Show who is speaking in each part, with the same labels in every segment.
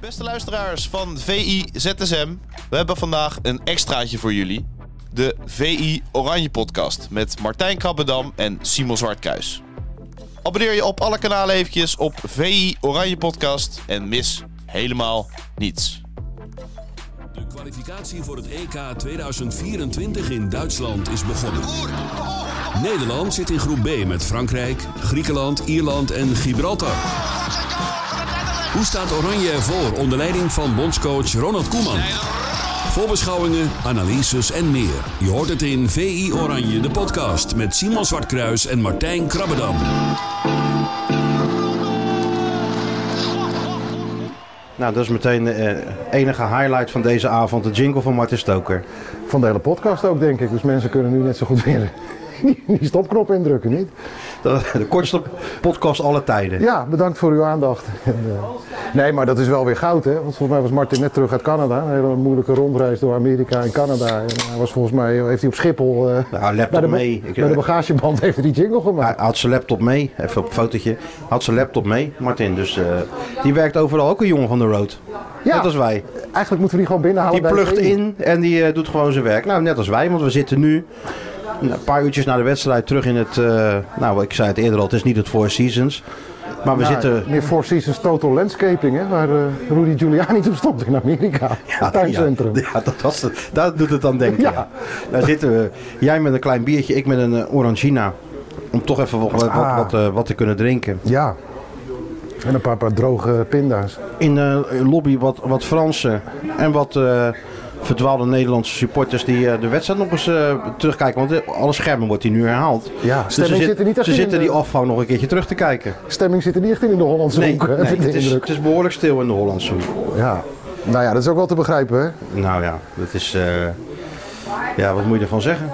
Speaker 1: Beste luisteraars van VI ZSM, we hebben vandaag een extraatje voor jullie. De VI Oranje Podcast met Martijn Krabbendam en Simon Zwartkruis. Abonneer je op alle kanalen eventjes op VI Oranje Podcast en mis helemaal niets.
Speaker 2: De kwalificatie voor het E EK 2024 in Duitsland is begonnen. Nederland zit in groep B met Frankrijk, Griekenland, Ierland en Gibraltar. Hoe staat Oranje ervoor onder leiding van bondscoach Ronald Koeman? Voorbeschouwingen, analyses en meer. Je hoort het in VI Oranje, de podcast met Simon Zwartkruis en Martijn Krabbedam.
Speaker 3: Nou, dat is meteen de enige highlight van deze avond, de jingle van Martin Stoker.
Speaker 4: Van de hele podcast ook, denk ik. Dus mensen kunnen nu net zo goed weer die die stopknop indrukken, niet?
Speaker 3: De, de kortste podcast alle tijden.
Speaker 4: Ja, bedankt voor uw aandacht. En, eh, nee, maar dat is wel weer goud, hè? Want volgens mij was Martin net terug uit Canada. Een hele moeilijke rondreis door Amerika en Canada. En hij was volgens mij, heeft hij op Schiphol... eh,
Speaker 3: Nou, laptop
Speaker 4: bij de, ba-
Speaker 3: mee. Ik-
Speaker 4: bij de bagageband heeft hij die jingle
Speaker 3: Hij
Speaker 4: gemaakt.
Speaker 3: had zijn laptop mee, even op een fotootje. Had zijn laptop mee, Martin. Dus eh, die werkt overal ook een jongen van de road.
Speaker 4: Ja.
Speaker 3: Net als wij.
Speaker 4: Eigenlijk moeten we die gewoon binnenhalen
Speaker 3: Die
Speaker 4: bij E
Speaker 3: plugt
Speaker 4: VI.
Speaker 3: in en die eh, doet gewoon zijn werk. Nou, net als wij, want we zitten nu een paar uurtjes na de wedstrijd terug in het... eh, nou, ik zei het eerder al, het is niet het Four Seasons. Maar we
Speaker 4: Ja,
Speaker 3: zitten...
Speaker 4: Meer Four Seasons Total Landscaping, hè? Waar eh, Rudy Giuliani toen stond in Amerika. het tuincentrum.
Speaker 3: Ja, ja, dat, was het. Daar doet het dan denken. ja.
Speaker 4: Ja.
Speaker 3: Daar zitten we. Jij met een klein biertje, ik met een eh, orangina. Om toch even wat, wat,
Speaker 4: Ah.
Speaker 3: wat, eh, wat te kunnen drinken.
Speaker 4: Ja. En een paar, paar droge pinda's.
Speaker 3: In de lobby wat, wat Fransen en wat eh, verdwaalde Nederlandse supporters die eh, de wedstrijd nog eens eh, terugkijken. Want eh, alle schermen wordt hier nu herhaald.
Speaker 4: Ja,
Speaker 3: dus ze,
Speaker 4: stemming zit er niet echt
Speaker 3: ze
Speaker 4: in,
Speaker 3: zitten
Speaker 4: eh.
Speaker 3: die afvang nog een keertje terug te kijken.
Speaker 4: Stemming zit er niet echt in in de Hollandse hoek, hè, heb ik de
Speaker 3: het, is,
Speaker 4: indruk.
Speaker 3: het is behoorlijk stil in de Hollandse hoek.
Speaker 4: Ja. Nou ja, dat is ook wel te begrijpen, hè?
Speaker 3: Nou ja, dat is. eh, ja, wat moet je ervan zeggen?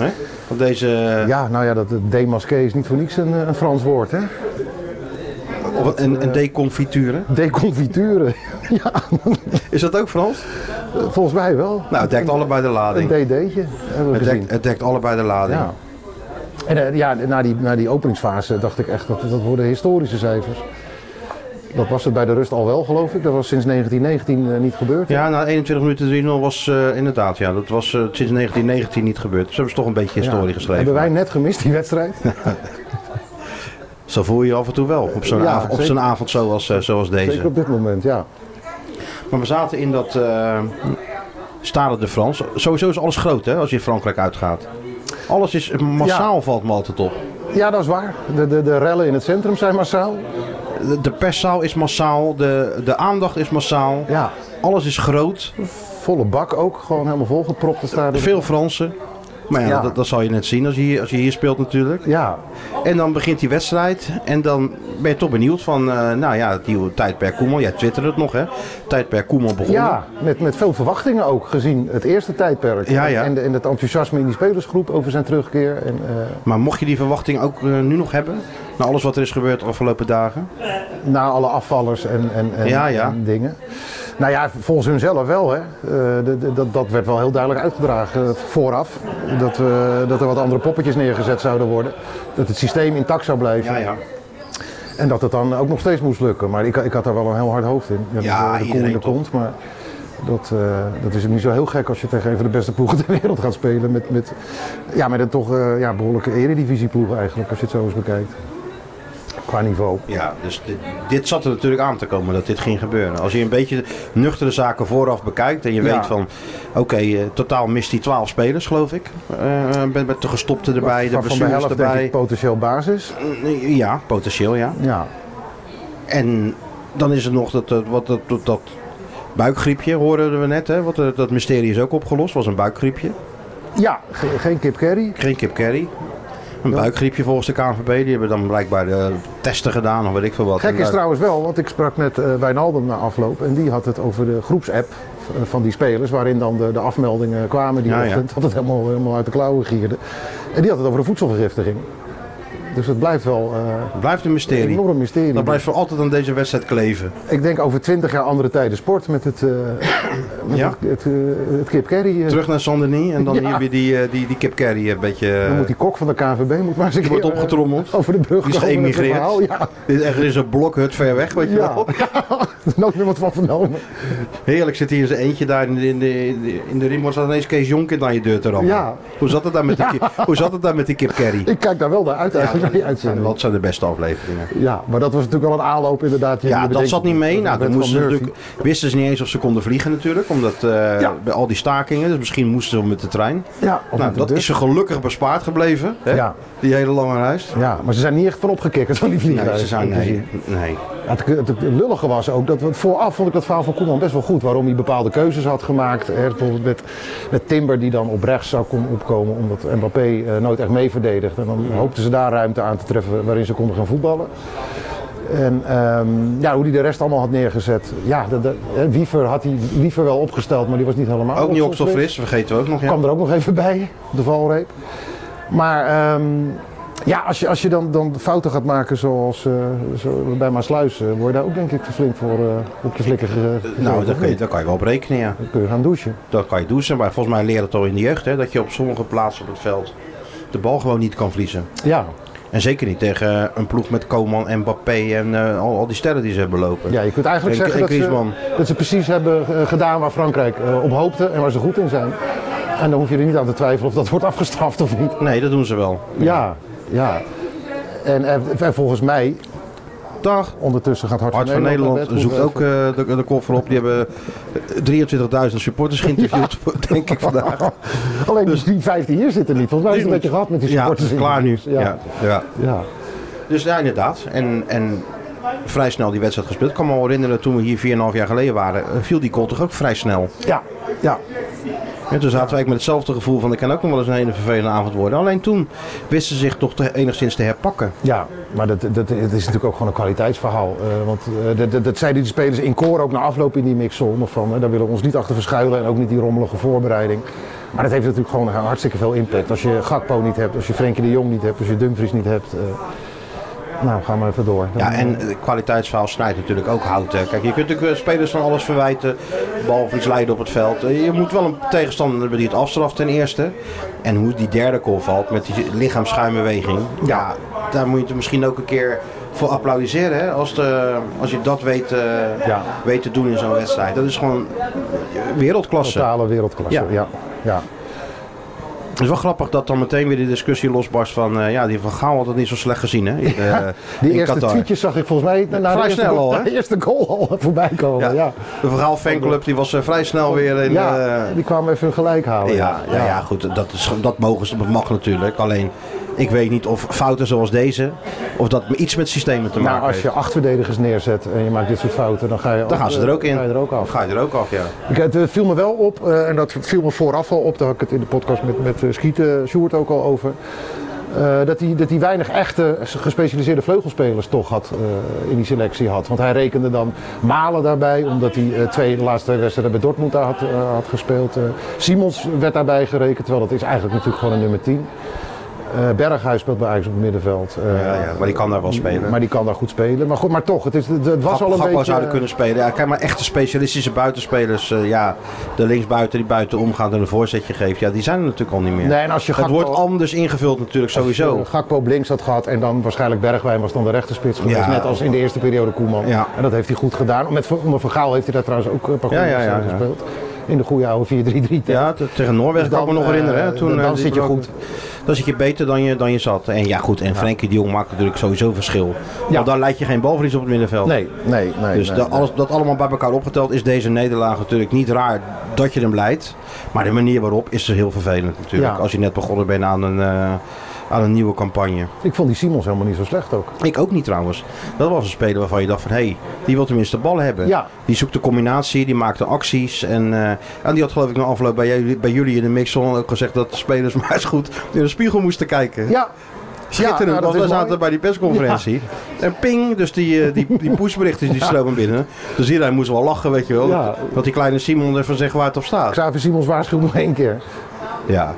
Speaker 3: Hè? Op deze. eh,
Speaker 4: Ja, nou ja, dat dat demasqué is niet voor niks een, eh, een Frans woord, hè?
Speaker 3: Of
Speaker 4: eh,
Speaker 3: een, een deconfiture.
Speaker 4: Deconfiture. ja,
Speaker 3: Is dat ook Frans?
Speaker 4: volgens mij wel.
Speaker 3: Nou, het dekt allebei de
Speaker 4: Een
Speaker 3: lading.
Speaker 4: DD'tje, hebben we
Speaker 3: Het
Speaker 4: gezien.
Speaker 3: dekt, het dekt allebei de lading.
Speaker 4: Ja. En eh, ja, na die, na die openingsfase dacht ik echt, dat, dat worden historische cijfers. Dat was het bij de rust al wel, geloof ik. Dat was sinds 1919 eh, niet gebeurd.
Speaker 3: Ja, na 21 minuten 3-0 was eh, inderdaad, ja, dat was eh, sinds 1919 niet gebeurd. Dus hebben ze toch een beetje historie
Speaker 4: Ja.
Speaker 3: geschreven.
Speaker 4: Hebben wij net gemist die wedstrijd?
Speaker 3: Zo voel je je af en toe wel, op zo'n
Speaker 4: Ja,
Speaker 3: avond, op
Speaker 4: zeker.
Speaker 3: zo'n avond zoals, eh, zoals deze.
Speaker 4: Zeker op dit moment, ja.
Speaker 3: Maar we zaten in dat eh Stade de France. Sowieso is alles groot, hè, als je in Frankrijk uitgaat. Alles is massaal, valt me altijd op.
Speaker 4: Ja, dat is waar. De, de, de rellen in het centrum zijn massaal.
Speaker 3: De, de perszaal is massaal, de, de aandacht is massaal.
Speaker 4: Ja,
Speaker 3: Alles is groot.
Speaker 4: volle bak ook. Gewoon helemaal volgepropt te staan.
Speaker 3: Veel Fransen. Maar ja,
Speaker 4: Ja.
Speaker 3: Dat, dat zal je net zien als je, hier, als je hier speelt natuurlijk.
Speaker 4: Ja,
Speaker 3: En dan begint die wedstrijd. En dan ben je toch benieuwd van, eh, nou ja, het nieuwe tijdperk Koeman. Jij twitterde het nog, hè? Tijdperk Koeman begonnen.
Speaker 4: ja met, met veel verwachtingen ook gezien het eerste tijdperk.
Speaker 3: Ja, ja.
Speaker 4: En, de- en het enthousiasme in die spelersgroep over zijn terugkeer. En, eh,
Speaker 3: Maar mocht je die verwachting ook eh, nu nog hebben? Na alles wat er is gebeurd de afgelopen dagen?
Speaker 4: na alle afvallers en, en, en,
Speaker 3: Ja, ja.
Speaker 4: en dingen. Nou ja, volgens hunzelf wel. Hè. Eh, de- de- dat, dat werd wel heel duidelijk uitgedragen eh, vooraf. Dat, we, dat er wat andere poppetjes neergezet zouden worden. Dat het systeem intact zou blijven. En dat het dan ook nog steeds moest lukken. Maar ik, ik had daar wel een heel hard hoofd in. Dat
Speaker 3: Ja,
Speaker 4: het, eh, de koe in de
Speaker 3: iedereen toch?
Speaker 4: kont. Maar dat, eh, dat is niet zo heel gek als je tegen een van de beste ploegen ter wereld gaat spelen. Met, met, ja, met een toch eh, ja, behoorlijke eredivisieploeg eigenlijk, als je het zo eens bekijkt. Qua niveau.
Speaker 3: Ja, dus dit, dit zat er natuurlijk aan te komen dat dit ging gebeuren. Als je een beetje nuchtere zaken vooraf bekijkt en je
Speaker 4: Ja.
Speaker 3: weet van, oké, eh, totaal mist hij 12 spelers, geloof ik. Eh met, met de gestopte erbij, de
Speaker 4: Maar van de
Speaker 3: blessures
Speaker 4: helft denk
Speaker 3: erbij.
Speaker 4: ik potentieel basis.
Speaker 3: Ja, potentieel, ja.
Speaker 4: Ja,
Speaker 3: En dan is er nog dat, eh, wat, dat, dat, dat buikgriepje, hoorden we net. Hè? Wat, eh, dat mysterie is ook opgelost, was een buikgriepje.
Speaker 4: ja ge- geen kip carry.
Speaker 3: Geen kip carry. Een buikgriepje volgens de KNVB. Die hebben dan blijkbaar de testen gedaan of weet ik veel wat.
Speaker 4: Gek
Speaker 3: En,
Speaker 4: is
Speaker 3: eh,
Speaker 4: trouwens wel, want ik sprak met eh, Wijnaldum na afloop. En die had het over de groepsapp eh, van die spelers. Waarin dan de, de afmeldingen kwamen die
Speaker 3: Ja, ja.
Speaker 4: ochtend. Dat het helemaal, helemaal uit de klauwen gierde. En die had het over de voedselvergiftiging. Dus het blijft wel eh,
Speaker 3: Het blijft een
Speaker 4: een
Speaker 3: mysterie.
Speaker 4: enorm mysterie.
Speaker 3: Dat blijft voor altijd aan deze wedstrijd kleven.
Speaker 4: Ik denk over twintig jaar andere tijden sport met het, eh, met
Speaker 3: Ja.
Speaker 4: het, het, eh, het Kip Kerry. eh.
Speaker 3: Terug naar Sandeny en dan
Speaker 4: Ja.
Speaker 3: hier weer die, eh, die, die Kip Carry een beetje... eh,
Speaker 4: Dan moet die kok van de KNVB moet maar eens een keer
Speaker 3: wordt
Speaker 4: eh,
Speaker 3: opgetrommeld.
Speaker 4: over de brug
Speaker 3: Die is
Speaker 4: komen met het
Speaker 3: geëmigreerd.
Speaker 4: verhaal. Ja,
Speaker 3: Dit- Er is een blokhut ver weg, weet je
Speaker 4: Ja.
Speaker 3: wel.
Speaker 4: nooit meer wat van vernomen.
Speaker 3: Heerlijk zit hier in zijn eentje daar in de, in de, in de, in de rimboord staat ineens Kees Jonkind aan je deur te rammen.
Speaker 4: Ja.
Speaker 3: Hoe zat het daar met die, ki- hoe zat het daar met die Kip Carry?
Speaker 4: Ik kijk daar wel naar uit eigenlijk, naar
Speaker 3: dat,
Speaker 4: die
Speaker 3: zijn,
Speaker 4: uitzending.
Speaker 3: dat zijn de beste afleveringen.
Speaker 4: Ja, maar dat was natuurlijk al een aanloop inderdaad. die
Speaker 3: Ja,
Speaker 4: je
Speaker 3: dat
Speaker 4: bedenkt.
Speaker 3: zat niet mee. Nou,
Speaker 4: Met
Speaker 3: dan
Speaker 4: Van
Speaker 3: moesten ze
Speaker 4: Murphy.
Speaker 3: natuurlijk, wisten ze niet eens of ze konden vliegen natuurlijk. Omdat eh, bij al die stakingen. Dus misschien moesten ze met de trein.
Speaker 4: Ja, of
Speaker 3: nou,
Speaker 4: met de
Speaker 3: dat
Speaker 4: bus.
Speaker 3: is ze gelukkig bespaard gebleven. Hè?
Speaker 4: Ja.
Speaker 3: Die hele lange reis.
Speaker 4: Ja, maar ze zijn niet echt van opgekikkerd van die vliegtuigen. Dus
Speaker 3: Nee, ze zijn, nee, nee.
Speaker 4: Het, het, het lullige was ook dat we- vooraf vond ik dat verhaal van Koeman best wel goed. Waarom hij bepaalde keuzes had gemaakt. Hè, bijvoorbeeld met, met Timber die dan op rechts zou kon opkomen. Omdat Mbappé eh, nooit echt mee verdedigd. En dan hoopten ze daar ruimte aan te treffen waarin ze konden gaan voetballen. En ehm, ja, hoe hij de rest allemaal had neergezet. Ja, dat- dat- hè, Wiever had hij Wiever wel opgesteld, maar die was niet helemaal
Speaker 3: Ook niet op zo
Speaker 4: opgesteld.
Speaker 3: fris, vergeten we ook nog. Ja.
Speaker 4: kwam er ook nog even bij, op de valreep. Maar ehm, ja, als je, als je dan, dan fouten gaat maken zoals eh, zo bij Maasluis, eh, word je daar ook denk ik te flink voor eh, op je flikker ge-
Speaker 3: Nou,
Speaker 4: gegooid,
Speaker 3: daar
Speaker 4: of
Speaker 3: kan, je,
Speaker 4: niet?
Speaker 3: daar kan je wel op rekenen, ja.
Speaker 4: Dan kun je gaan douchen.
Speaker 3: Dat kan je doen, maar volgens mij leert het al in de jeugd, hè, dat je op sommige plaatsen op het veld de bal gewoon niet kan verliezen.
Speaker 4: Ja.
Speaker 3: En zeker niet tegen eh, een ploeg met Koeman en Mbappé en eh, al, al die sterren die ze hebben lopen.
Speaker 4: ja, je kunt eigenlijk
Speaker 3: En-
Speaker 4: zeggen
Speaker 3: en
Speaker 4: dat ze,
Speaker 3: Griezmann.
Speaker 4: dat ze precies hebben eh, gedaan waar Frankrijk eh, op hoopte en waar ze goed in zijn. En dan hoef je er niet aan te twijfelen of dat wordt afgestraft of niet.
Speaker 3: Nee, dat doen ze wel.
Speaker 4: Ja, ja. En, en, en volgens mij,
Speaker 3: Dag.
Speaker 4: ondertussen gaat Hart,
Speaker 3: Hart van Nederland
Speaker 4: naar bed.
Speaker 3: zoekt ook eh, de, de koffer op. Die hebben eh, 23.000 supporters geïnterviewd, denk ik vandaag.
Speaker 4: Alleen dus die 15 hier zitten niet. Volgens mij is het een beetje gehad met die
Speaker 3: Ja,
Speaker 4: supporters.
Speaker 3: klaar nu.
Speaker 4: Ja. Ja.
Speaker 3: Ja. Ja.
Speaker 4: Ja.
Speaker 3: Dus ja, inderdaad. En, en vrij snel die wedstrijd gespeeld. Ik kan me wel herinneren toen we hier 4,5 jaar geleden waren, eh, viel die goal toch ook vrij snel.
Speaker 4: ja,
Speaker 3: En toen zaten wij ook met hetzelfde gevoel van, dat kan ook nog wel eens een hele vervelende avond worden. Alleen toen wisten ze zich toch te- enigszins te herpakken.
Speaker 4: maar dat, dat, het is natuurlijk ook gewoon een kwaliteitsverhaal. Eh, want eh, dat, dat, dat zeiden die spelers in koor ook na afloop in die mixzone van. eh, daar willen we ons niet achter verschuilen en ook niet die rommelige voorbereiding. Maar dat heeft natuurlijk gewoon hartstikke veel impact. Als je Gakpo niet hebt, als je Frenkie de Jong niet hebt, als je Dumfries niet hebt. eh, nou, gaan we even door. Dan-
Speaker 3: Ja, en het kwaliteitsverhaal snijdt natuurlijk ook hout. Hè. Kijk, je kunt natuurlijk eh, spelers van alles verwijten, behalve iets leiden op het veld. Eh, Je moet wel een tegenstander hebben die het afstraft ten eerste. En hoe die derde goal valt met die lichaamsschuimbeweging. Ja, daar moet je het misschien ook een keer voor applaudisseren. Hè? Als, de, als je dat weet, eh,
Speaker 4: Ja.
Speaker 3: weet te doen in zo'n wedstrijd. Dat is gewoon wereldklasse.
Speaker 4: totale wereldklasse. Ja.
Speaker 3: Ja.
Speaker 4: Ja. Ja.
Speaker 3: Het is wel grappig dat dan meteen weer de discussie losbarst van... eh, ja, die Van Gaal had dat niet zo slecht gezien, hè? In, eh,
Speaker 4: Die
Speaker 3: in
Speaker 4: eerste
Speaker 3: Qatar.
Speaker 4: tweetjes zag ik volgens mij na- na de
Speaker 3: Vrij
Speaker 4: eerste
Speaker 3: snel
Speaker 4: goal-
Speaker 3: al, hè?
Speaker 4: de eerste goal al voorbij komen.
Speaker 3: Ja.
Speaker 4: ja.
Speaker 3: De Van Gaal fanclub die was eh, vrij snel weer in...
Speaker 4: Ja,
Speaker 3: eh,
Speaker 4: die kwamen even gelijk halen.
Speaker 3: ja, ja, ja, goed, dat, is, dat mogen ze, dat mag natuurlijk. Alleen, ik weet niet of fouten zoals deze... of dat iets met systemen te
Speaker 4: Maar
Speaker 3: maken
Speaker 4: Nou, als je
Speaker 3: heeft.
Speaker 4: acht verdedigers neerzet en je maakt dit soort fouten, dan ga je, eh,
Speaker 3: Dan gaan ze er ook in.
Speaker 4: Ga je er ook af.
Speaker 3: Ga je er ook af, ja.
Speaker 4: Ik, het eh, viel me wel op, eh, en dat viel me vooraf al op, daar had ik het in de podcast met, met eh, Schieten Sjoerd ook al over. eh, dat, hij, dat hij weinig echte gespecialiseerde vleugelspelers toch had eh, in die selectie had. Want hij rekende dan Malen daarbij, omdat hij eh, twee, de laatste twee wedstrijden bij Dortmund daar had, eh, had gespeeld. Eh, Simons werd daarbij gerekend, terwijl dat is eigenlijk natuurlijk gewoon een nummer 10. Eh, Berghuis speelt bij Ajax op het middenveld. Eh,
Speaker 3: ja, ja. Maar die kan daar wel spelen.
Speaker 4: Maar die kan daar goed spelen. Maar, goed, maar toch, het, is, het, het was al een
Speaker 3: Gakpo
Speaker 4: beetje... eh,
Speaker 3: zouden kunnen spelen. Ja, kijk maar, echte specialistische buitenspelers. eh, ja, de linksbuiten die buiten omgaan en een voorzetje geeft. Ja, die zijn er natuurlijk al niet meer.
Speaker 4: Nee, en als je
Speaker 3: Het
Speaker 4: Gakpo-
Speaker 3: wordt anders ingevuld natuurlijk sowieso.
Speaker 4: eh, Gakpo op links had gehad en dan waarschijnlijk Bergwijn was dan de rechterspits geweest.
Speaker 3: Ja.
Speaker 4: Net als in de eerste periode Koeman.
Speaker 3: Ja.
Speaker 4: En dat heeft hij goed gedaan. Met, onder Van Gaal heeft hij daar trouwens ook eh, een paar goede
Speaker 3: Ja, ja, ja,
Speaker 4: wedstrijden
Speaker 3: ja.
Speaker 4: gespeeld. In de goede oude 4-3-3 tijd.
Speaker 3: Ja, t- tegen Noorwegen
Speaker 4: Dus
Speaker 3: kan ik me
Speaker 4: dan,
Speaker 3: nog herinneren. Hè?
Speaker 4: eh,
Speaker 3: Toen,
Speaker 4: dan-
Speaker 3: eh,
Speaker 4: dan
Speaker 3: die
Speaker 4: zit je
Speaker 3: blok-
Speaker 4: goed.
Speaker 3: Dan zit je beter dan je, dan je zat. En ja, goed. En Frenkie de Jong maakt natuurlijk sowieso verschil. Want daar leid je geen balverlies op het middenveld.
Speaker 4: Nee, nee, nee.
Speaker 3: Dus
Speaker 4: nee,
Speaker 3: dat,
Speaker 4: nee.
Speaker 3: alles, dat allemaal bij elkaar opgeteld is deze nederlaag natuurlijk niet raar dat je hem leidt. Maar de manier waarop is heel vervelend natuurlijk.
Speaker 4: Ja.
Speaker 3: Als je net begonnen bent aan een, eh, aan een nieuwe campagne.
Speaker 4: Ik vond die Simons helemaal niet zo slecht ook.
Speaker 3: Ik ook niet trouwens. Dat was een speler waarvan je dacht van, hé, hey, die wil tenminste de bal hebben.
Speaker 4: Ja.
Speaker 3: Die zoekt de combinatie, die maakt de acties. En, eh, en die had geloof ik na afloop bij jullie, bij jullie in de mixzone ook gezegd dat de spelers maar eens goed in de spiegel moesten kijken.
Speaker 4: Ja,
Speaker 3: Schitterend,
Speaker 4: nou, dat
Speaker 3: want
Speaker 4: is
Speaker 3: we
Speaker 4: mooi.
Speaker 3: zaten bij die persconferentie. En ping, dus die, eh, die, die pushberichten die stromen binnen. Dus iedereen moest wel lachen, weet je wel.
Speaker 4: Ja.
Speaker 3: Dat die kleine Simon even zegt waar het op staat.
Speaker 4: Xavier Simons waarschuwde nog één keer.
Speaker 3: Ja.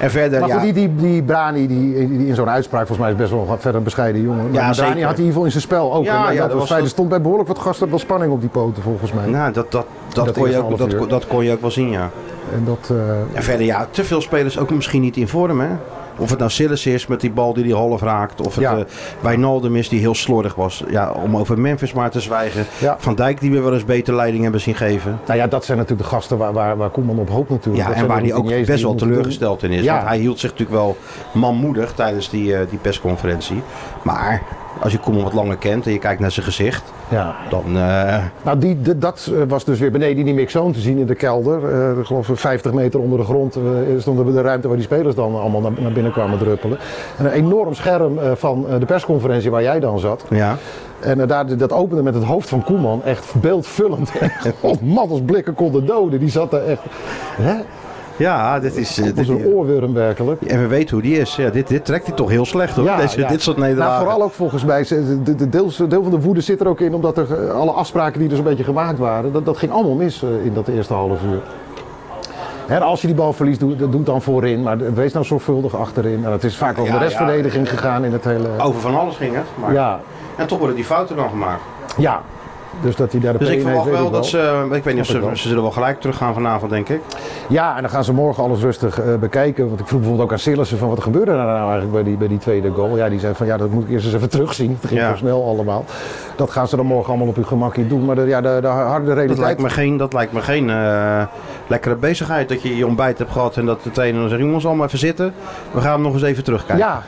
Speaker 3: En verder,
Speaker 4: Maar goed,
Speaker 3: ja.
Speaker 4: die, die, die Brani, die, die in zo'n uitspraak, volgens mij is best wel een verder een bescheiden jongen. Maar
Speaker 3: Ja,
Speaker 4: die Brani
Speaker 3: zeker.
Speaker 4: had in ieder geval in zijn spel ook.
Speaker 3: Ja,
Speaker 4: En- en
Speaker 3: ja,
Speaker 4: dat
Speaker 3: dat
Speaker 4: was
Speaker 3: was
Speaker 4: fijn.
Speaker 3: dat-
Speaker 4: Er stond bij behoorlijk wat gasten wel spanning op die poten, volgens mij.
Speaker 3: Nou, dat, dat, dat,
Speaker 4: Dat
Speaker 3: kon je
Speaker 4: eerste
Speaker 3: ook,
Speaker 4: half
Speaker 3: dat,
Speaker 4: uur.
Speaker 3: kon- dat kon je ook wel zien, ja.
Speaker 4: En dat, eh,
Speaker 3: En verder, ja, te veel spelers ook misschien niet in vorm, hè. Of het nou Sillis is met die bal die die half raakt. Of het
Speaker 4: Ja.
Speaker 3: eh, Wijnaldum is die heel slordig was. Ja, om over Memphis maar te zwijgen.
Speaker 4: Ja.
Speaker 3: Van Dijk die we wel eens beter leiding hebben zien geven.
Speaker 4: nou ja, dat zijn natuurlijk de gasten waar, waar, waar Koeman op hoopt natuurlijk.
Speaker 3: Ja,
Speaker 4: Dat
Speaker 3: en
Speaker 4: zijn
Speaker 3: waar
Speaker 4: de
Speaker 3: hij ook
Speaker 4: routiniers
Speaker 3: best
Speaker 4: die
Speaker 3: wel
Speaker 4: moeten doen.
Speaker 3: teleurgesteld in is.
Speaker 4: Ja.
Speaker 3: Want hij hield zich natuurlijk wel manmoedig tijdens die, eh, die persconferentie. Maar als je Koeman wat langer kent en je kijkt naar zijn gezicht,
Speaker 4: Ja.
Speaker 3: dan... eh,
Speaker 4: Nou, die, de- dat eh, was dus weer beneden in die mixzone te zien in de kelder. Eh, ik geloof 50 meter onder de grond eh, stond er de ruimte waar die spelers dan allemaal naar, naar binnen kwamen druppelen. En een enorm scherm eh, van eh, de persconferentie waar jij dan zat.
Speaker 3: ja.
Speaker 4: En eh, daar, dat opende met het hoofd van Koeman. Echt beeldvullend. God, man, als blikken konden doden. Die zat daar echt... Hè?
Speaker 3: ja, dit is... eh,
Speaker 4: Als
Speaker 3: dit-
Speaker 4: een oorwurm werkelijk.
Speaker 3: en we weten hoe die is. Ja, dit, dit trekt hij toch heel slecht hoor. Deze, Dit soort nederlagen.
Speaker 4: Nou, vooral ook volgens mij, ze- de, de deels, deel van de woede zit er ook in, omdat er eh, alle afspraken die er zo'n beetje gemaakt waren, dat, dat ging allemaal mis eh, in dat eerste half uur. Hè, als je die bal verliest, doe, doe het dan voorin, maar wees nou zorgvuldig achterin. En het is vaak over
Speaker 3: Ja, Oh.
Speaker 4: de restverdediging gegaan in het hele...
Speaker 3: Over van alles ging het. Maar...
Speaker 4: Ja,
Speaker 3: En toch worden die fouten dan gemaakt.
Speaker 4: ja. Dus dat hij daar de
Speaker 3: Dus
Speaker 4: P1
Speaker 3: ik
Speaker 4: heeft,
Speaker 3: verwacht
Speaker 4: weet
Speaker 3: wel dat ze. eh, Ik weet niet of
Speaker 4: Snap ik
Speaker 3: ze.
Speaker 4: wel.
Speaker 3: Ze zullen wel gelijk teruggaan vanavond, denk ik.
Speaker 4: Ja, en dan gaan ze morgen alles rustig eh, bekijken. Want ik vroeg bijvoorbeeld ook aan Sillissen van wat gebeurde er nou eigenlijk bij die, bij die tweede goal. Ja, die zei van ja, dat moet ik eerst eens even terugzien. Het ging
Speaker 3: Ja.
Speaker 4: zo snel allemaal. Dat gaan ze dan morgen allemaal op hun gemakje doen. Maar de, ja, de, de harde
Speaker 3: Dat
Speaker 4: realiteit...
Speaker 3: lijkt me geen, dat lijkt me geen eh, lekkere bezigheid. Dat je je ontbijt hebt gehad en dat de trainer dan zegt: jongens, allemaal even zitten. We gaan nog eens even terugkijken.
Speaker 4: Ja,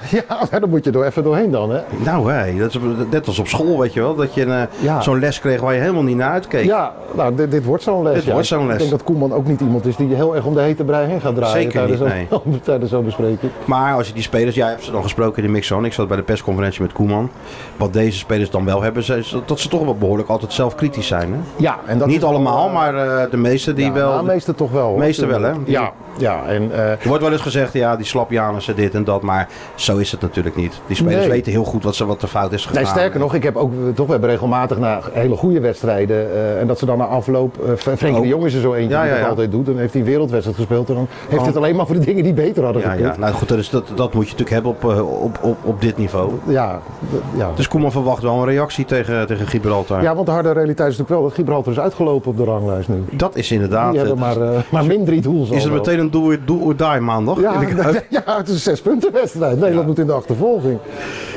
Speaker 4: ja, dan moet je er even doorheen dan. Hè?
Speaker 3: Nou, hé, dat is net als op school, weet je wel. Dat je eh,
Speaker 4: Ja.
Speaker 3: zo'n les kreeg waar je helemaal niet naar uitkeek.
Speaker 4: Ja, nou, dit, dit wordt zo'n les.
Speaker 3: Dit
Speaker 4: ja.
Speaker 3: wordt zo'n les.
Speaker 4: Ik denk dat Koeman ook niet iemand is die heel erg om de hete brei heen gaat draaien.
Speaker 3: Zeker
Speaker 4: tijdens
Speaker 3: niet,
Speaker 4: zo'n- tijdens zo'n bespreking.
Speaker 3: Maar als je die spelers, jij hebt ze dan gesproken in de mixzone. Ik zat bij de persconferentie met Koeman. Wat deze spelers dan wel hebben, is dat ze toch wel behoorlijk altijd zelf kritisch zijn. Hè?
Speaker 4: Ja, en dat
Speaker 3: niet
Speaker 4: is-
Speaker 3: allemaal, maar eh, de meeste die
Speaker 4: Ja,
Speaker 3: wel.
Speaker 4: nou, meeste toch wel. hoor.
Speaker 3: Meeste wel, hè?
Speaker 4: Ja, ja en... eh,
Speaker 3: Er wordt wel eens gezegd, ja, die slapjanissen dit en dat, maar zo is het natuurlijk niet. Die spelers
Speaker 4: Nee.
Speaker 3: weten heel goed wat, ze, wat er fout is gegaan.
Speaker 4: Nee, sterker nog, ik heb ook, eh, toch, we hebben regelmatig na hele goede wedstrijden. eh, en dat ze dan na afloop. eh, Fre- Frenkie de
Speaker 3: Ook.
Speaker 4: Jong is er zo eentje
Speaker 3: Oh. Ja,
Speaker 4: die
Speaker 3: ja,
Speaker 4: dat
Speaker 3: ja.
Speaker 4: altijd doet. Dan heeft hij een wereldwedstrijd gespeeld. En dan heeft
Speaker 3: Oh.
Speaker 4: het alleen maar voor de dingen die beter hadden
Speaker 3: Ja,
Speaker 4: gekund.
Speaker 3: ja. Nou goed, dat, is, dat, dat moet je natuurlijk hebben op, eh, op, op, op dit niveau.
Speaker 4: Ja, d- ja.
Speaker 3: Dus Koeman verwacht wel een reactie tegen, tegen Gibraltar.
Speaker 4: ja, want de harde realiteit is natuurlijk wel dat Gibraltar is uitgelopen op de ranglijst nu.
Speaker 3: Dat is inderdaad...
Speaker 4: Die hebben
Speaker 3: het.
Speaker 4: maar, eh, maar min drie doels.
Speaker 3: is het
Speaker 4: al.
Speaker 3: meteen een do or, do or die maandag?
Speaker 4: Ja,
Speaker 3: In de Kuip?
Speaker 4: ja, het is een zespuntenwedstrijd. Nederland moet in de achtervolging.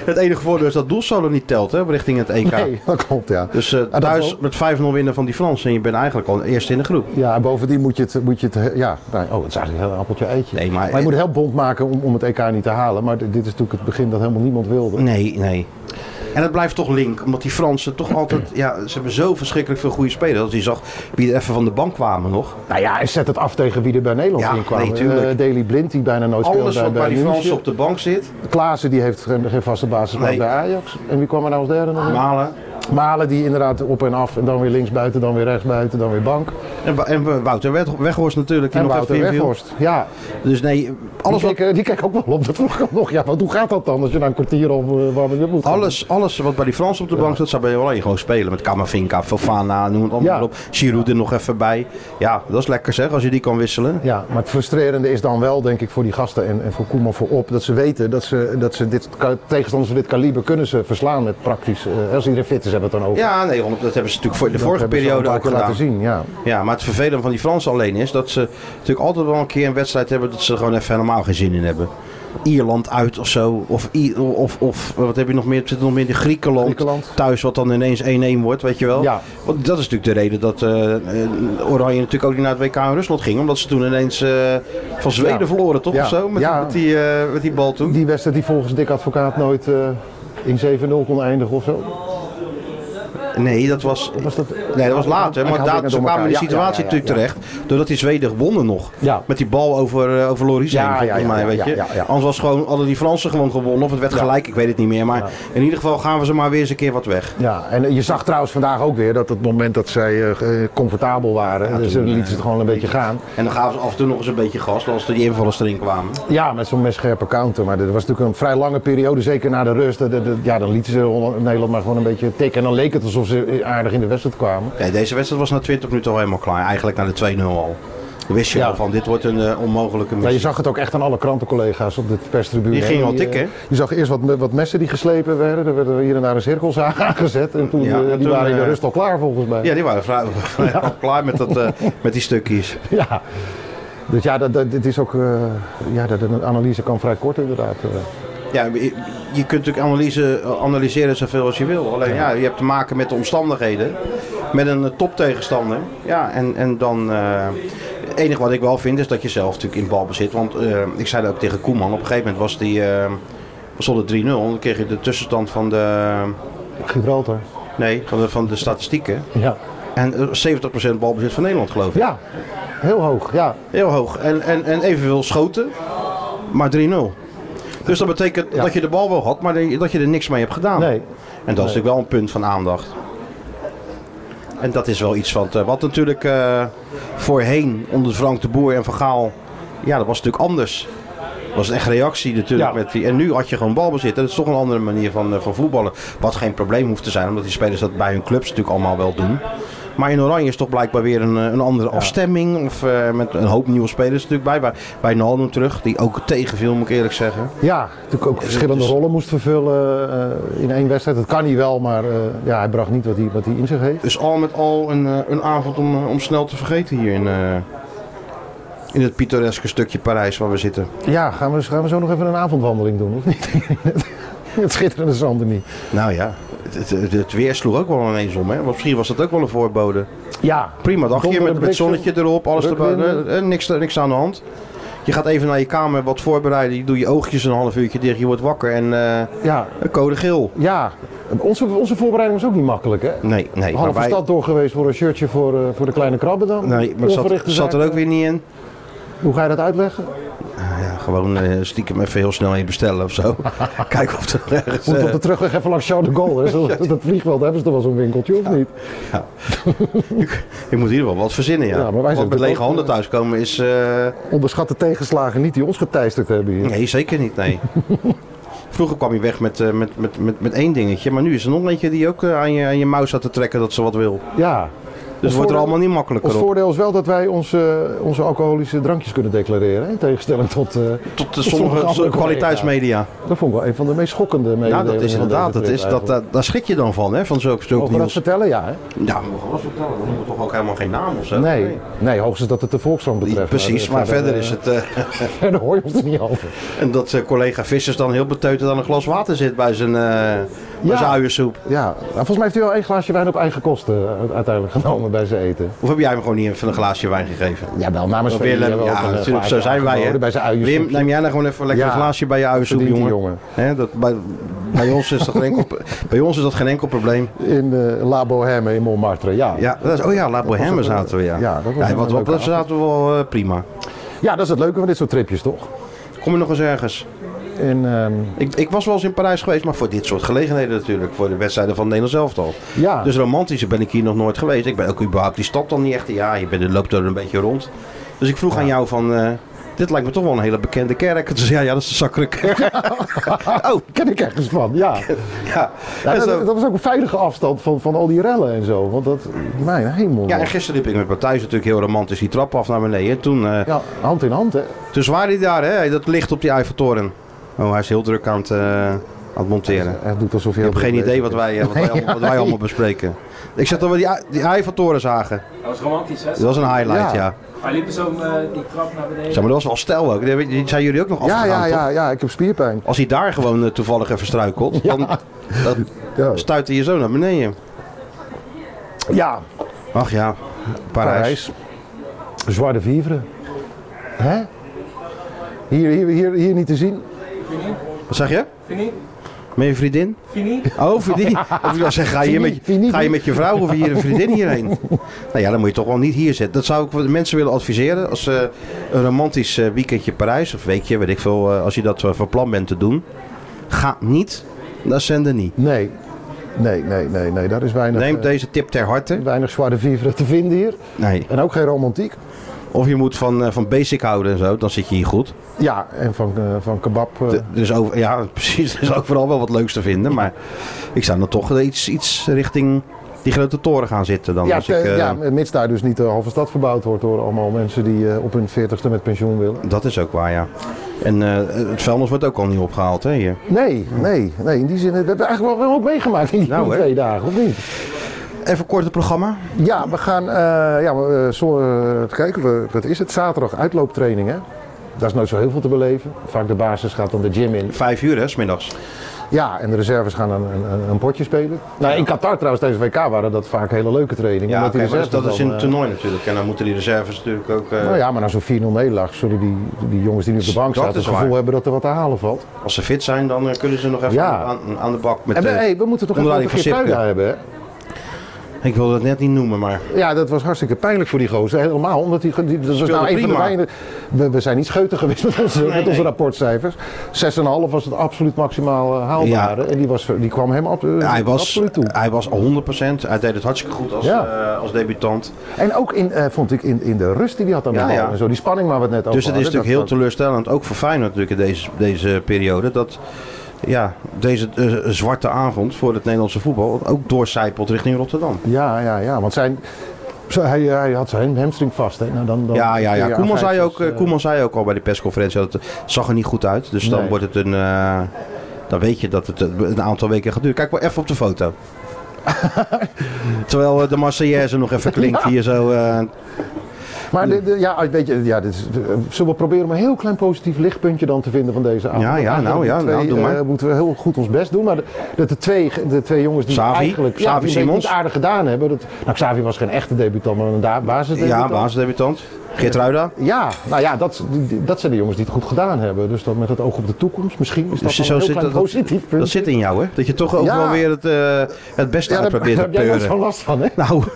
Speaker 3: Het enige voordeel is dat doelsolo niet telt hè, richting het EK.
Speaker 4: Nee, dat klopt, ja.
Speaker 3: Dus eh,
Speaker 4: En dat
Speaker 3: thuis
Speaker 4: wel-
Speaker 3: met 5-0 winnen van die Fransen en je bent eigenlijk al eerst in de groep.
Speaker 4: Ja, en bovendien moet je het. Moet je het eh, ja, nou, oh, het is eigenlijk een heel appeltje eitje.
Speaker 3: Nee, maar-
Speaker 4: je moet het heel bond maken om, om het EK niet te halen. Maar dit dit is natuurlijk het begin dat helemaal niemand wilde.
Speaker 3: Nee, nee. En het blijft toch link, omdat die Fransen toch altijd... Ja, ze hebben zo verschrikkelijk veel goede spelers. Als je zag wie er even van de bank kwamen nog.
Speaker 4: Nou ja, en zet het af tegen wie er bij Nederland
Speaker 3: Ja,
Speaker 4: in kwam.
Speaker 3: nee, tuurlijk.
Speaker 4: Eh, Daley Blind, die bijna nooit speelde
Speaker 3: Alles
Speaker 4: bij,
Speaker 3: wat bij die
Speaker 4: München.
Speaker 3: Fransen op de bank zit.
Speaker 4: Klaassen, die heeft geen, geen vaste basis
Speaker 3: Nee.
Speaker 4: bij Ajax. En wie kwam er nou als derde nog? in?
Speaker 3: Malen.
Speaker 4: Malen, die inderdaad op en af. En dan weer links buiten, dan weer rechts buiten, dan weer bank.
Speaker 3: En, Wa- en Wa- Wouter Weg- Weghorst natuurlijk. Die
Speaker 4: En
Speaker 3: nog
Speaker 4: Wouter
Speaker 3: even inviel.
Speaker 4: Weghorst. Ja,
Speaker 3: Dus nee, alles,
Speaker 4: die,
Speaker 3: wat,
Speaker 4: keek, eh, die keek ook wel op de voorkant nog. Ja, want hoe gaat dat dan als je na een kwartier of eh, warming up moet gaan?
Speaker 3: alles, alles wat bij die Fransen op de bank zit, zou bij alleen gewoon spelen. Met Camavinga, Fofana, noem het allemaal
Speaker 4: Ja.
Speaker 3: op. Giroud er nog even bij. Ja, dat is lekker zeg, als je die kan wisselen.
Speaker 4: Ja, maar het frustrerende is dan wel, denk ik, voor die gasten en, en voor Koeman voorop, dat ze weten dat ze, dat ze dit, ka- tegenstanders van dit kaliber kunnen ze verslaan met praktisch, eh, als iedereen fit is, hebben we het dan over.
Speaker 3: Ja, nee, want dat hebben ze natuurlijk voor in de
Speaker 4: Dat
Speaker 3: vorige
Speaker 4: hebben ze al
Speaker 3: periode
Speaker 4: een paar
Speaker 3: ook
Speaker 4: keer
Speaker 3: gedaan.
Speaker 4: laten zien, ja.
Speaker 3: Ja, maar het vervelende van die Fransen alleen is dat ze natuurlijk altijd wel een keer een wedstrijd hebben dat ze er gewoon even helemaal geen zin in hebben. Ierland uit of zo. Of, I- of, of eh, wat heb je nog meer? Zit er nog meer in Griekenland,
Speaker 4: Griekenland.
Speaker 3: thuis, wat dan ineens 1-1 wordt, weet je wel.
Speaker 4: Ja.
Speaker 3: Want dat is natuurlijk de reden dat eh, eh, Oranje natuurlijk ook niet naar het WK in Rusland ging. Omdat ze toen ineens eh, van Zweden
Speaker 4: Ja.
Speaker 3: verloren, toch?
Speaker 4: Ja.
Speaker 3: Of zo? Met,
Speaker 4: Ja.
Speaker 3: die, met, die, eh, met die bal toen.
Speaker 4: Die wedstrijd die volgens Dick Advocaat nooit eh, in 7-0 kon eindigen of zo.
Speaker 3: Nee, dat was,
Speaker 4: Was dat- Oh,
Speaker 3: nee, dat was later.
Speaker 4: Ik
Speaker 3: Maar
Speaker 4: haal
Speaker 3: daar,
Speaker 4: dingen door
Speaker 3: ze kwamen in
Speaker 4: elkaar.
Speaker 3: die
Speaker 4: Ja,
Speaker 3: situatie
Speaker 4: ja, ja,
Speaker 3: natuurlijk
Speaker 4: ja.
Speaker 3: terecht. Doordat die Zweden wonnen nog.
Speaker 4: Ja.
Speaker 3: Met die bal over, eh, over Loris
Speaker 4: Ja,
Speaker 3: heen,
Speaker 4: ja,
Speaker 3: volgens
Speaker 4: ja,
Speaker 3: mij,
Speaker 4: ja,
Speaker 3: weet je.
Speaker 4: ja, ja.
Speaker 3: Anders was gewoon, hadden die Fransen gewoon gewonnen. Of het werd gelijk, ik weet het niet meer. Maar in ieder geval gaven ze maar weer eens een keer wat weg.
Speaker 4: Ja, en eh, je zag trouwens vandaag ook weer dat het moment dat zij eh, eh, comfortabel waren, dus
Speaker 3: toen,
Speaker 4: eh, lieten ze het gewoon een beetje gaan.
Speaker 3: En dan gaven ze af en toe nog eens een beetje gas. Als er die invallers erin kwamen.
Speaker 4: Ja, met zo'n mescherpe counter. Maar dat was natuurlijk een vrij lange periode, zeker na de rust. Dat- dat- dat- ja, dan lieten ze Holland- Nederland maar gewoon een beetje tikken. En dan leek het alsof ze aardig in de wedstrijd kwamen.
Speaker 3: Nee, deze wedstrijd was na 20 minuten al helemaal klaar. Eigenlijk naar de 2-0 al. Dan wist je
Speaker 4: Ja.
Speaker 3: al van, dit wordt een eh, onmogelijke
Speaker 4: Ja, je
Speaker 3: missie.
Speaker 4: zag het ook echt aan alle krantencollega's op de perstribune.
Speaker 3: Die gingen
Speaker 4: hè.
Speaker 3: al tikken, hè?
Speaker 4: eh, Je zag eerst wat, me- wat messen die geslepen werden. Er werden hier en daar een cirkelzaag aangezet. En toen,
Speaker 3: Ja,
Speaker 4: eh,
Speaker 3: en
Speaker 4: die
Speaker 3: toen,
Speaker 4: waren in de
Speaker 3: eh,
Speaker 4: rust al klaar volgens mij.
Speaker 3: Ja, die waren vrij, vrij al klaar met, dat, eh, met die stukjes.
Speaker 4: Ja. Dus ja, dat, dat, dit is ook, eh, ja, dat, een analyse kan vrij kort inderdaad. eh.
Speaker 3: Ja, je je kunt natuurlijk analyse, analyseren zoveel als je wil. Alleen ja, je hebt te maken met de omstandigheden. Met een eh, toptegenstander. Ja, en, en dan... eh, het enige wat ik wel vind is dat je zelf natuurlijk in balbezit. Want eh, ik zei dat ook tegen Koeman. Op een gegeven moment was die... eh was het 3-0. Dan kreeg je de tussenstand van de...
Speaker 4: Gibraltar.
Speaker 3: Nee, van de, van de statistieken.
Speaker 4: Ja.
Speaker 3: En eh, 70% balbezit van Nederland geloof ik.
Speaker 4: Ja, heel hoog. Ja.
Speaker 3: Heel hoog. En, en, en evenveel schoten, maar 3-0. Dus dat betekent
Speaker 4: Ja.
Speaker 3: dat je de bal wel had, maar die- dat je er niks mee hebt gedaan.
Speaker 4: Nee.
Speaker 3: En dat is natuurlijk wel een punt van aandacht. En dat is wel iets wat, eh, wat natuurlijk eh, voorheen onder Frank de Boer en Van Gaal... Ja, dat was natuurlijk anders. Dat was echt reactie natuurlijk.
Speaker 4: Ja.
Speaker 3: Met die, en nu had je gewoon balbezit. Dat is toch een andere manier van, eh, van voetballen. Wat geen probleem hoeft te zijn, omdat die spelers dat bij hun clubs natuurlijk allemaal wel doen. Maar in Oranje is toch blijkbaar weer een, eh, een andere afstemming. Of eh, met een hoop nieuwe spelers natuurlijk bij. Bij, bij Naldo terug, die ook tegenviel, moet ik eerlijk zeggen.
Speaker 4: Ja, natuurlijk ook verschillende
Speaker 3: dus-
Speaker 4: rollen moest vervullen eh, in één wedstrijd. Dat kan hij wel, maar eh, ja, hij bracht niet wat hij, wat hij in zich heeft.
Speaker 3: Dus al met al een, eh, een avond om, eh, om snel te vergeten hier in, eh, in het pittoreske stukje Parijs waar we zitten.
Speaker 4: Ja, gaan we, gaan we zo nog even een avondwandeling doen, of niet? Het schitterende zanden niet.
Speaker 3: Nou ja, het, het, het weer sloeg ook wel ineens om. Hè? Want misschien was dat ook wel een voorbode.
Speaker 4: Ja,
Speaker 3: Prima dagje
Speaker 4: Donder en
Speaker 3: met, met
Speaker 4: bliksem.
Speaker 3: zonnetje erop, alles erbij.
Speaker 4: Rukwinden.
Speaker 3: eh, eh, niks, niks aan de hand. Je gaat even naar je kamer wat voorbereiden. Je doet je oogjes een half uurtje dicht. Je wordt wakker en eh,
Speaker 4: ja,
Speaker 3: code geel.
Speaker 4: ja. Onze, onze voorbereiding was ook niet makkelijk, hè?
Speaker 3: Nee, nee.
Speaker 4: Halve
Speaker 3: maar wij-
Speaker 4: stad door geweest voor een shirtje voor, eh, voor de kleine krabben dan.
Speaker 3: Nee, maar het zat,
Speaker 4: Onverrichte
Speaker 3: zat er
Speaker 4: zaken.
Speaker 3: ook Eh, weer niet in.
Speaker 4: Hoe ga je dat uitleggen?
Speaker 3: Ja, gewoon eh, stiekem even heel snel in bestellen of zo. Kijken of er ergens...
Speaker 4: Moet
Speaker 3: eh,
Speaker 4: op de terugweg even langs Charles de Gaulle. Hè? Zo- Dat vliegveld hebben ze toch wel zo'n winkeltje, of niet?
Speaker 3: Ik moet hier wel wat verzinnen, ja.
Speaker 4: Ja, maar wij
Speaker 3: Want
Speaker 4: zijn
Speaker 3: met
Speaker 4: natuurlijk
Speaker 3: lege
Speaker 4: ook,
Speaker 3: handen thuiskomen is... eh,
Speaker 4: Onderschat de tegenslagen niet die ons geteisterd hebben hier.
Speaker 3: nee, zeker niet, nee. Vroeger kwam je weg met, eh, met, met, met, met één dingetje. Maar nu is er nog eentje die ook eh, aan, je, aan je mouw staat te trekken dat ze wat wil.
Speaker 4: Ja.
Speaker 3: Dus het wordt er
Speaker 4: voordeel-
Speaker 3: allemaal niet makkelijker
Speaker 4: Ons
Speaker 3: op.
Speaker 4: voordeel is wel dat wij onze, onze alcoholische drankjes kunnen declareren. Hè? in Tegenstelling tot, eh,
Speaker 3: Tot de
Speaker 4: tot
Speaker 3: sommige
Speaker 4: andere
Speaker 3: sommige kwaliteitsmedia.
Speaker 4: collega's. Dat vond ik wel een van de meest schokkende
Speaker 3: Ja,
Speaker 4: mededelingen.
Speaker 3: dat is
Speaker 4: van
Speaker 3: inderdaad.
Speaker 4: deze
Speaker 3: Dat is,
Speaker 4: trip
Speaker 3: dat, eh,
Speaker 4: eigenlijk.
Speaker 3: dat, daar schrik je dan van, hè? Van zulke stuk
Speaker 4: Mogen we dat
Speaker 3: nieuws.
Speaker 4: vertellen? Ja, hè?
Speaker 3: Ja, we mogen wat vertellen. We hebben toch ook helemaal geen naam of zo?
Speaker 4: Nee. nee, hoogstens dat het de Volkskrant
Speaker 3: Die-
Speaker 4: betreft.
Speaker 3: Precies, maar verder is
Speaker 4: eh,
Speaker 3: het... eh,
Speaker 4: Verder hoor je ons er niet over.
Speaker 3: en dat eh, collega Vissers dan heel beteuterd aan een glas water zit bij zijn, eh bij
Speaker 4: Ja.
Speaker 3: zijn uiensoep.
Speaker 4: Ja, nou, volgens mij heeft hij wel één glaasje wijn op eigen kosten eh, uiteindelijk genomen bij zijn eten.
Speaker 3: Of heb jij hem gewoon niet even een glaasje wijn gegeven?
Speaker 4: Ja, wel namens
Speaker 3: Of Willem, ja, natuurlijk, zo eh, zijn wij. Hè.
Speaker 4: eh, Bij zijn uien.
Speaker 3: Wim, neem jij nou gewoon even lekker
Speaker 4: Ja,
Speaker 3: een glaasje bij je uiensoep,
Speaker 4: verdient die
Speaker 3: jongen.
Speaker 4: jongen.
Speaker 3: Hè, dat, bij, bij, ons is dat geen enkel, bij ons is dat geen enkel probleem.
Speaker 4: In eh La Bohème in Montmartre, ja. ja.
Speaker 3: Ja, dat is, oh ja, La Bohème zaten we, ja.
Speaker 4: ja, dat was een
Speaker 3: wat,
Speaker 4: leuke
Speaker 3: wat, dat zaten we wel eh, prima.
Speaker 4: dat is het leuke van dit soort tripjes, toch?
Speaker 3: Kom je nog eens ergens?
Speaker 4: En, ehm,
Speaker 3: Ik, ik was wel eens in Parijs geweest, maar voor dit soort gelegenheden natuurlijk. Voor de wedstrijden van Nederland zelf al.
Speaker 4: ja,
Speaker 3: Dus romantischer ben ik hier nog nooit geweest. Ik ben ook überhaupt die stad dan niet echt. Ja, je bent, loopt er een beetje rond. Dus ik vroeg aan jou van... eh, dit lijkt me toch wel een hele bekende kerk. Dus ja, ja, dat is de Sacre Kerk. oh,
Speaker 4: ken ik ergens van, ja.
Speaker 3: ja.
Speaker 4: Ja,
Speaker 3: En
Speaker 4: dat,
Speaker 3: zo-
Speaker 4: dat was ook een veilige afstand van, van al die rellen en zo. Want dat, mijn hemel.
Speaker 3: ja,
Speaker 4: man.
Speaker 3: en gisteren liep ik met Matthijs natuurlijk heel romantisch die trap af naar beneden. Toen, eh,
Speaker 4: Ja, hand in hand, hè.
Speaker 3: toen zwaar hij daar, hè, dat licht op die Eiffeltoren. Oh, hij is heel druk aan het, eh, aan het monteren.
Speaker 4: Hij doet alsof je...
Speaker 3: Ik heb geen idee wat
Speaker 4: dus.
Speaker 3: wij, eh, wat, wij allemaal, wat wij allemaal bespreken. Ik zeg dat we die, ei- die Eiffeltoren zagen.
Speaker 5: Dat was romantisch, hè?
Speaker 3: Dat was een highlight, ja.
Speaker 4: Ja.
Speaker 5: Hij liep zo eh, die trap naar beneden.
Speaker 3: Zeg, maar dat was wel stijl ook. Die- Die zijn jullie ook nog
Speaker 4: Ja,
Speaker 3: afgegaan,
Speaker 4: ja,
Speaker 3: toch?
Speaker 4: ja, ja, ik heb spierpijn.
Speaker 3: Als hij daar gewoon eh, toevallig even struikelt, dan, dan
Speaker 4: Ja,
Speaker 3: stuit hij je zo naar beneden.
Speaker 4: ja
Speaker 3: Ach ja, Parijs.
Speaker 4: Parijs. Zwarte Vivre. Hè? Hier, hier, hier, hier niet te zien.
Speaker 5: Fini,
Speaker 3: Wat zeg je?
Speaker 5: fini,
Speaker 3: Met je vriendin?
Speaker 5: fini.
Speaker 3: Oh, vriendin. Of ik wil zeggen, ga je, met, je-
Speaker 4: Vriendin.
Speaker 3: ga je met je vrouw of hier een vriendin hierheen? Nou ja, dan moet je toch wel niet hier zitten. Dat zou ik de mensen willen adviseren. Als ze een romantisch eh, weekendje Parijs of weekje, weet ik veel, eh, als je dat eh, van plan bent te doen. Ga niet naar Saint-Denis.
Speaker 4: Nee. Nee, nee, nee, nee. Daar is weinig,
Speaker 3: Neem
Speaker 4: eh,
Speaker 3: deze tip ter harte.
Speaker 4: weinig Zwarte Vivre te vinden hier.
Speaker 3: Nee.
Speaker 4: En ook geen romantiek.
Speaker 3: Of je moet van, eh, van basic houden en zo, dan zit je hier goed.
Speaker 4: Ja, en van, eh, van kebab. eh,
Speaker 3: De- Er is over, ja, precies. Er is overal wel wat leuks te vinden. Maar ik zou dan toch eh, iets, iets richting die grote toren gaan zitten dan.
Speaker 4: Ja,
Speaker 3: als ik,
Speaker 4: te-
Speaker 3: eh,
Speaker 4: ja, mits daar dus niet de halve stad verbouwd wordt door allemaal mensen die eh, op hun 40ste met pensioen willen.
Speaker 3: Dat is ook waar, ja. En eh, het vuilnis wordt ook al niet opgehaald, hè, hier.
Speaker 4: Nee, nee, nee. In die zin, eh, dat hebben we eigenlijk wel, wel ook meegemaakt in die
Speaker 3: Nou, hè.
Speaker 4: twee dagen, of niet?
Speaker 3: Even kort het programma.
Speaker 4: Ja, we gaan. eh, ja, we, eh, zo, eh, even kijken, we, wat is het? Zaterdag uitlooptraining, hè? Daar is nooit zo heel veel te beleven. Vaak de basis gaat dan de gym in.
Speaker 3: Vijf uur, hè, smiddags.
Speaker 4: Ja, en de reserves gaan een, een, een potje spelen. Nou, in Qatar trouwens, tijdens WK waren dat vaak hele leuke trainingen.
Speaker 3: Ja,
Speaker 4: omdat die
Speaker 3: oké, maar dat,
Speaker 4: reserves
Speaker 3: dat is in
Speaker 4: dan,
Speaker 3: het
Speaker 4: eh,
Speaker 3: toernooi natuurlijk. En dan moeten die reserves natuurlijk ook... eh,
Speaker 4: Nou ja, maar na zo'n 4-0 nederlaag zullen die, die jongens die nu op de bank
Speaker 3: Dat
Speaker 4: staan het
Speaker 3: is
Speaker 4: gevoel
Speaker 3: waar.
Speaker 4: hebben dat er wat te halen valt.
Speaker 3: Als ze fit zijn, dan eh, kunnen ze nog even
Speaker 4: Ja.
Speaker 3: aan, aan de bak met...
Speaker 4: En we,
Speaker 3: eh,
Speaker 4: hey, we moeten toch even
Speaker 3: onder
Speaker 4: over
Speaker 3: leiding van
Speaker 4: Geertruida hebben, hè?
Speaker 3: ik wilde dat net niet noemen, maar...
Speaker 4: Ja, dat was hartstikke pijnlijk voor die gozer. Helemaal, omdat die, die dat was
Speaker 3: Speelde
Speaker 4: nou een van de
Speaker 3: prima.
Speaker 4: weinig- We, we zijn niet scheuter geweest met onze, met onze rapportcijfers. 6,5 was het absoluut maximaal eh, haalbare. En die, was, die kwam hem ab- eh,
Speaker 3: Hij was,
Speaker 4: absoluut toe.
Speaker 3: hij was al 100%. Hij deed het hartstikke goed als,
Speaker 4: Ja.
Speaker 3: eh, als debutant.
Speaker 4: En ook in, eh, vond ik in, in de rust die hij had aan de
Speaker 3: Ja,
Speaker 4: bal
Speaker 3: ja.
Speaker 4: en zo. Die spanning waar we het net over
Speaker 3: Dus het is
Speaker 4: hadden,
Speaker 3: natuurlijk heel
Speaker 4: dat- dat-
Speaker 3: teleurstellend, ook voor Feyenoord natuurlijk in deze, deze periode, dat ja, deze eh, zwarte avond voor het Nederlandse voetbal ook doorcijpelt richting Rotterdam.
Speaker 4: Ja, ja, ja. Want zijn, zo- hij, eh, hij had zijn hamstring vast. Hè. Nou, dan, dan,
Speaker 3: Ja, ja, ja.
Speaker 4: aan
Speaker 3: Koeman, zei
Speaker 4: vijf,
Speaker 3: ook, eh,
Speaker 4: zes, eh,
Speaker 3: Koeman zei ook al bij de persconferentie dat het zag er niet goed uit. Dus dan
Speaker 4: Nee.
Speaker 3: wordt het een... eh, dan weet je dat het eh, een aantal weken gaat duren. Kijk maar even op de foto. Terwijl eh, de Marseillaise nog even klinkt hier zo. eh,
Speaker 4: Maar de- de- ja, weet je, ja, dit is, de- zullen we proberen om een heel klein positief lichtpuntje dan te vinden van deze avond?
Speaker 3: Ja, ja,
Speaker 4: Eigenlijk
Speaker 3: nou,
Speaker 4: die
Speaker 3: ja,
Speaker 4: twee,
Speaker 3: nou, doe maar.
Speaker 4: eh, moeten we heel goed ons best doen. Maar de- dat de twee, de twee jongens die
Speaker 3: Xavi,
Speaker 4: eigenlijk
Speaker 3: Xavi
Speaker 4: ja, die
Speaker 3: Simons.
Speaker 4: het aardig gedaan hebben. Dat, nou, Xavi was geen echte debutant, maar een da- basisdebutant.
Speaker 3: ja, basisdebutant. Geert Ruida.
Speaker 4: Ja, nou ja, dat, die- dat zijn de jongens die het goed gedaan hebben. Dus dan met het oog op de toekomst misschien is dat
Speaker 3: Dus
Speaker 4: dan
Speaker 3: zo
Speaker 4: een heel
Speaker 3: zit
Speaker 4: klein
Speaker 3: dat-
Speaker 4: positief punt.
Speaker 3: Dat zit in jou, hè? Dat je toch ook
Speaker 4: Ja.
Speaker 3: wel weer het, eh, het beste
Speaker 4: ja,
Speaker 3: uit
Speaker 4: daar, daar
Speaker 3: probeert te
Speaker 4: heb jij nooit
Speaker 3: peuren.
Speaker 4: zo'n last van, hè?
Speaker 3: Nou,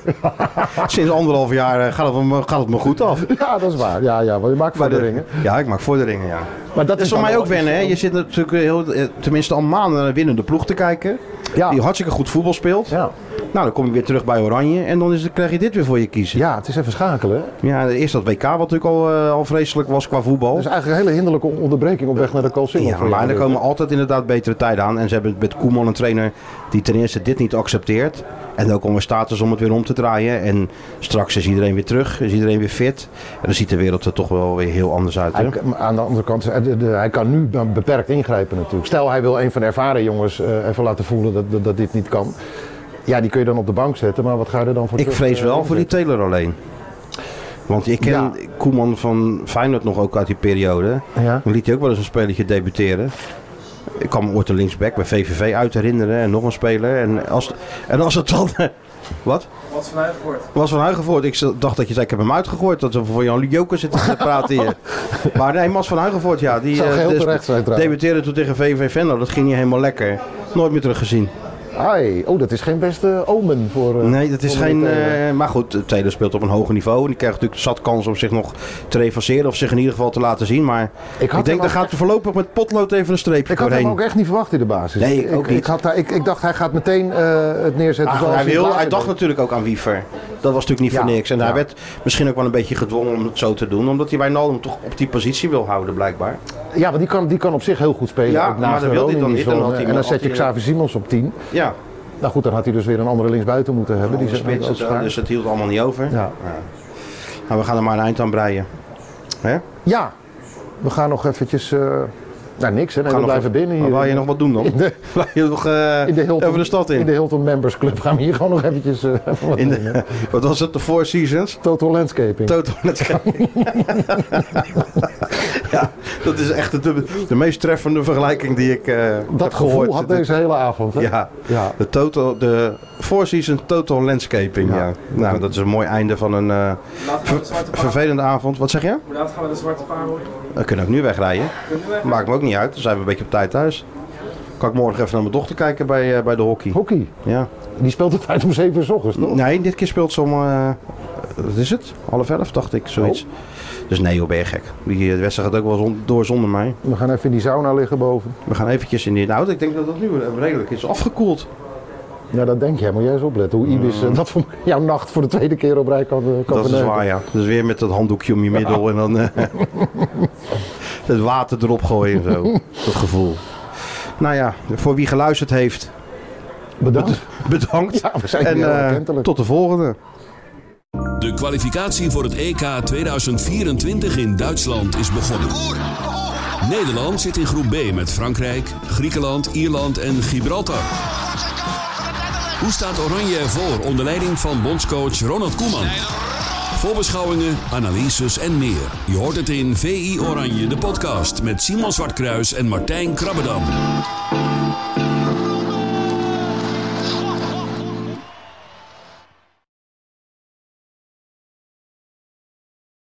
Speaker 3: sinds anderhalf jaar eh, gaat het, me- gaat het me goed af.
Speaker 4: Ja, dat is waar. Ja, ja, want je maakt vorderingen.
Speaker 3: Ja, ik maak vorderingen, ja.
Speaker 4: Maar dat
Speaker 3: Het is voor
Speaker 4: dan
Speaker 3: mij
Speaker 4: wel
Speaker 3: ook wennen, hè? Je zit natuurlijk heel, eh, tenminste al maanden naar een winnende ploeg te kijken.
Speaker 4: Ja.
Speaker 3: Die hartstikke goed voetbal speelt.
Speaker 4: Ja.
Speaker 3: Nou, dan kom je weer terug bij Oranje en dan is, het- krijg je dit weer voor je kiezen.
Speaker 4: ja, het is even schakelen, hè?
Speaker 3: Ja, eerst dat WK wat natuurlijk al, eh, al vreselijk was qua voetbal.
Speaker 4: Dat is eigenlijk een hele hinderlijke on- onderbreking op weg naar de Call Single.
Speaker 3: Ja, maar er komen altijd inderdaad betere tijden aan. En ze hebben met Koeman een trainer die ten eerste dit niet accepteert. En ook onder status om het weer om te draaien. En straks is iedereen weer terug, is iedereen weer fit. En dan ziet de wereld er toch wel weer heel anders uit. Hè?
Speaker 4: Hij, maar aan de andere kant, hij- de- de- hij kan nu be- beperkt ingrijpen natuurlijk. Stel hij wil een van de ervaren jongens eh, even laten voelen dat, dat, dat dit niet kan. Ja, die kun je dan op de bank zetten, maar wat ga je er dan voor
Speaker 3: Ik
Speaker 4: terug,
Speaker 3: vrees
Speaker 4: eh,
Speaker 3: wel voor die
Speaker 4: inzetten?
Speaker 3: Taylor alleen. Want ik ken
Speaker 4: Ja.
Speaker 3: Koeman van Feyenoord nog ook uit die periode.
Speaker 4: Ja.
Speaker 3: Dan liet hij ook wel eens een spelletje debuteren. Ik kan me ooit een linksback bij VVV uit herinneren. En nog een speler. En als, en als het dan... Wat?
Speaker 5: Wat nou van huis wordt.
Speaker 3: was van Huigenvoort. Ik z- dacht dat je zei, ik heb hem uitgegooid. Dat we voor Jan Joker zitten te praten hier. Maar nee, Mas van Huigenvoort, ja. Die
Speaker 4: Zou
Speaker 3: eh,
Speaker 4: geheel
Speaker 3: des-
Speaker 4: terecht zijn trouwens.
Speaker 3: debuteerde toen tegen VVV Venlo. Dat ging niet helemaal lekker. Nooit meer teruggezien.
Speaker 4: Ai, oh, dat is geen beste omen voor... eh,
Speaker 3: Nee, dat is
Speaker 4: voor de
Speaker 3: geen...
Speaker 4: Taylor.
Speaker 3: eh, maar goed, Taylor speelt op een hoger niveau. En die krijgt natuurlijk zat kans om zich nog te revanceren. Of zich in ieder geval te laten zien. Maar ik,
Speaker 4: had hem
Speaker 3: denk, daar
Speaker 4: ook-
Speaker 3: gaat er voorlopig met potlood even een streepje
Speaker 4: ik had
Speaker 3: doorheen.
Speaker 4: hem ook echt niet verwacht in de basis.
Speaker 3: Nee, ik ook niet.
Speaker 4: Ik, had, daar- ik, ik dacht, hij gaat meteen eh, het neerzetten
Speaker 3: Ah,
Speaker 4: zoals
Speaker 3: hij, wil,
Speaker 4: klaar
Speaker 3: hij
Speaker 4: is.
Speaker 3: dacht natuurlijk ook aan Wiever. Dat was natuurlijk niet voor
Speaker 4: Ja,
Speaker 3: niks. En hij
Speaker 4: ja.
Speaker 3: werd misschien ook wel een beetje gedwongen om het zo te doen. Omdat hij Wijnaldum toch op die positie wil houden, blijkbaar.
Speaker 4: Ja, want die kan, die kan op zich heel goed spelen.
Speaker 3: Ja,
Speaker 4: ook
Speaker 3: maar
Speaker 4: naast
Speaker 3: dat
Speaker 4: de
Speaker 3: wil hij dan
Speaker 4: Ronin
Speaker 3: niet.
Speaker 4: die
Speaker 3: Dan had
Speaker 4: zone.
Speaker 3: hij-
Speaker 4: En dan
Speaker 3: had
Speaker 4: zet je
Speaker 3: hij-
Speaker 4: Xavi Simons op 10.
Speaker 3: Ja,
Speaker 4: Nou goed, dan had hij dus weer een andere linksbuiten moeten hebben. Die
Speaker 3: die
Speaker 4: zijn
Speaker 3: spits,
Speaker 4: ook
Speaker 3: het,
Speaker 4: schaar.
Speaker 3: dus het hield allemaal niet over.
Speaker 4: Ja.
Speaker 3: Nou, we gaan er maar een eind aan breien. Hè?
Speaker 4: ja, we gaan nog eventjes... eh nou, niks hè. Nee,
Speaker 3: Gaan
Speaker 4: we
Speaker 3: nog
Speaker 4: blijven
Speaker 3: even-
Speaker 4: binnen hier.
Speaker 3: Maar Wil je nog wat doen dan?
Speaker 4: In de-
Speaker 3: Wil je nog eh,
Speaker 4: in de Hilton,
Speaker 3: over de stad in?
Speaker 4: In de Hilton Members Club gaan we hier gewoon nog eventjes... eh, even wat
Speaker 3: In de-
Speaker 4: doen, hè.
Speaker 3: wat was het? De Four Seasons?
Speaker 4: Total Landscaping.
Speaker 3: Toto Landscaping. ja, dat is echt de, de meest treffende vergelijking die ik eh, heb
Speaker 4: dat gevoel
Speaker 3: gehoord.
Speaker 4: had deze hele avond. Hè?
Speaker 3: Ja,
Speaker 4: Ja.
Speaker 3: De, total, de Four Seasons Total Landscaping. Ja.
Speaker 4: Ja.
Speaker 3: Nou, dat is een mooi einde van een eh,
Speaker 5: Laat gaan we de zwarte paard.
Speaker 3: vervelende avond. Wat zeg je?
Speaker 5: Hoe laat gaan we de zwarte paard horen?
Speaker 3: We kunnen ook nu wegrijden.
Speaker 5: Kunnen we?
Speaker 3: Maakt me ook niet uit, dan zijn we een beetje op tijd thuis. Kan ik morgen even naar mijn dochter kijken bij, eh, bij de hockey.
Speaker 4: Hockey.
Speaker 3: Ja.
Speaker 4: Die speelt het uit om 7 uur s ochtends, toch?
Speaker 3: Nee, dit keer speelt ze om, eh, wat is het? Half elf dacht ik, zoiets. Dus nee joh, ben je gek. Die eh, wedstrijd gaat ook wel zon- door zonder mij.
Speaker 4: We gaan even in die sauna liggen boven.
Speaker 3: We gaan eventjes in die auto. Ik denk dat dat nu eh, redelijk is afgekoeld.
Speaker 4: Ja, dat denk jij. Moet jij eens opletten hoe Ibis eh, dat voor jouw nacht voor de tweede keer op rij kan, eh, kan
Speaker 3: Mm. Dat is
Speaker 4: verneuken.
Speaker 3: waar, ja. Dus weer met dat handdoekje om je middel en dan eh, het water erop gooien en zo. Dat gevoel. Nou ja, voor wie geluisterd heeft,
Speaker 4: Bedankt.
Speaker 3: Bedankt.
Speaker 4: Ja, we zijn
Speaker 3: en
Speaker 4: heel
Speaker 3: eh,
Speaker 4: erkentelijk.
Speaker 3: tot de volgende.
Speaker 2: De kwalificatie voor het E EK 2024 in Duitsland is begonnen. Nederland zit in groep B met Frankrijk, Griekenland, Ierland en Gibraltar. Hoe staat Oranje ervoor onder leiding van bondscoach Ronald Koeman? Voorbeschouwingen, analyses en meer. Je hoort het in VI Oranje, de podcast met Simon Zwartkruis en Martijn Krabbedam.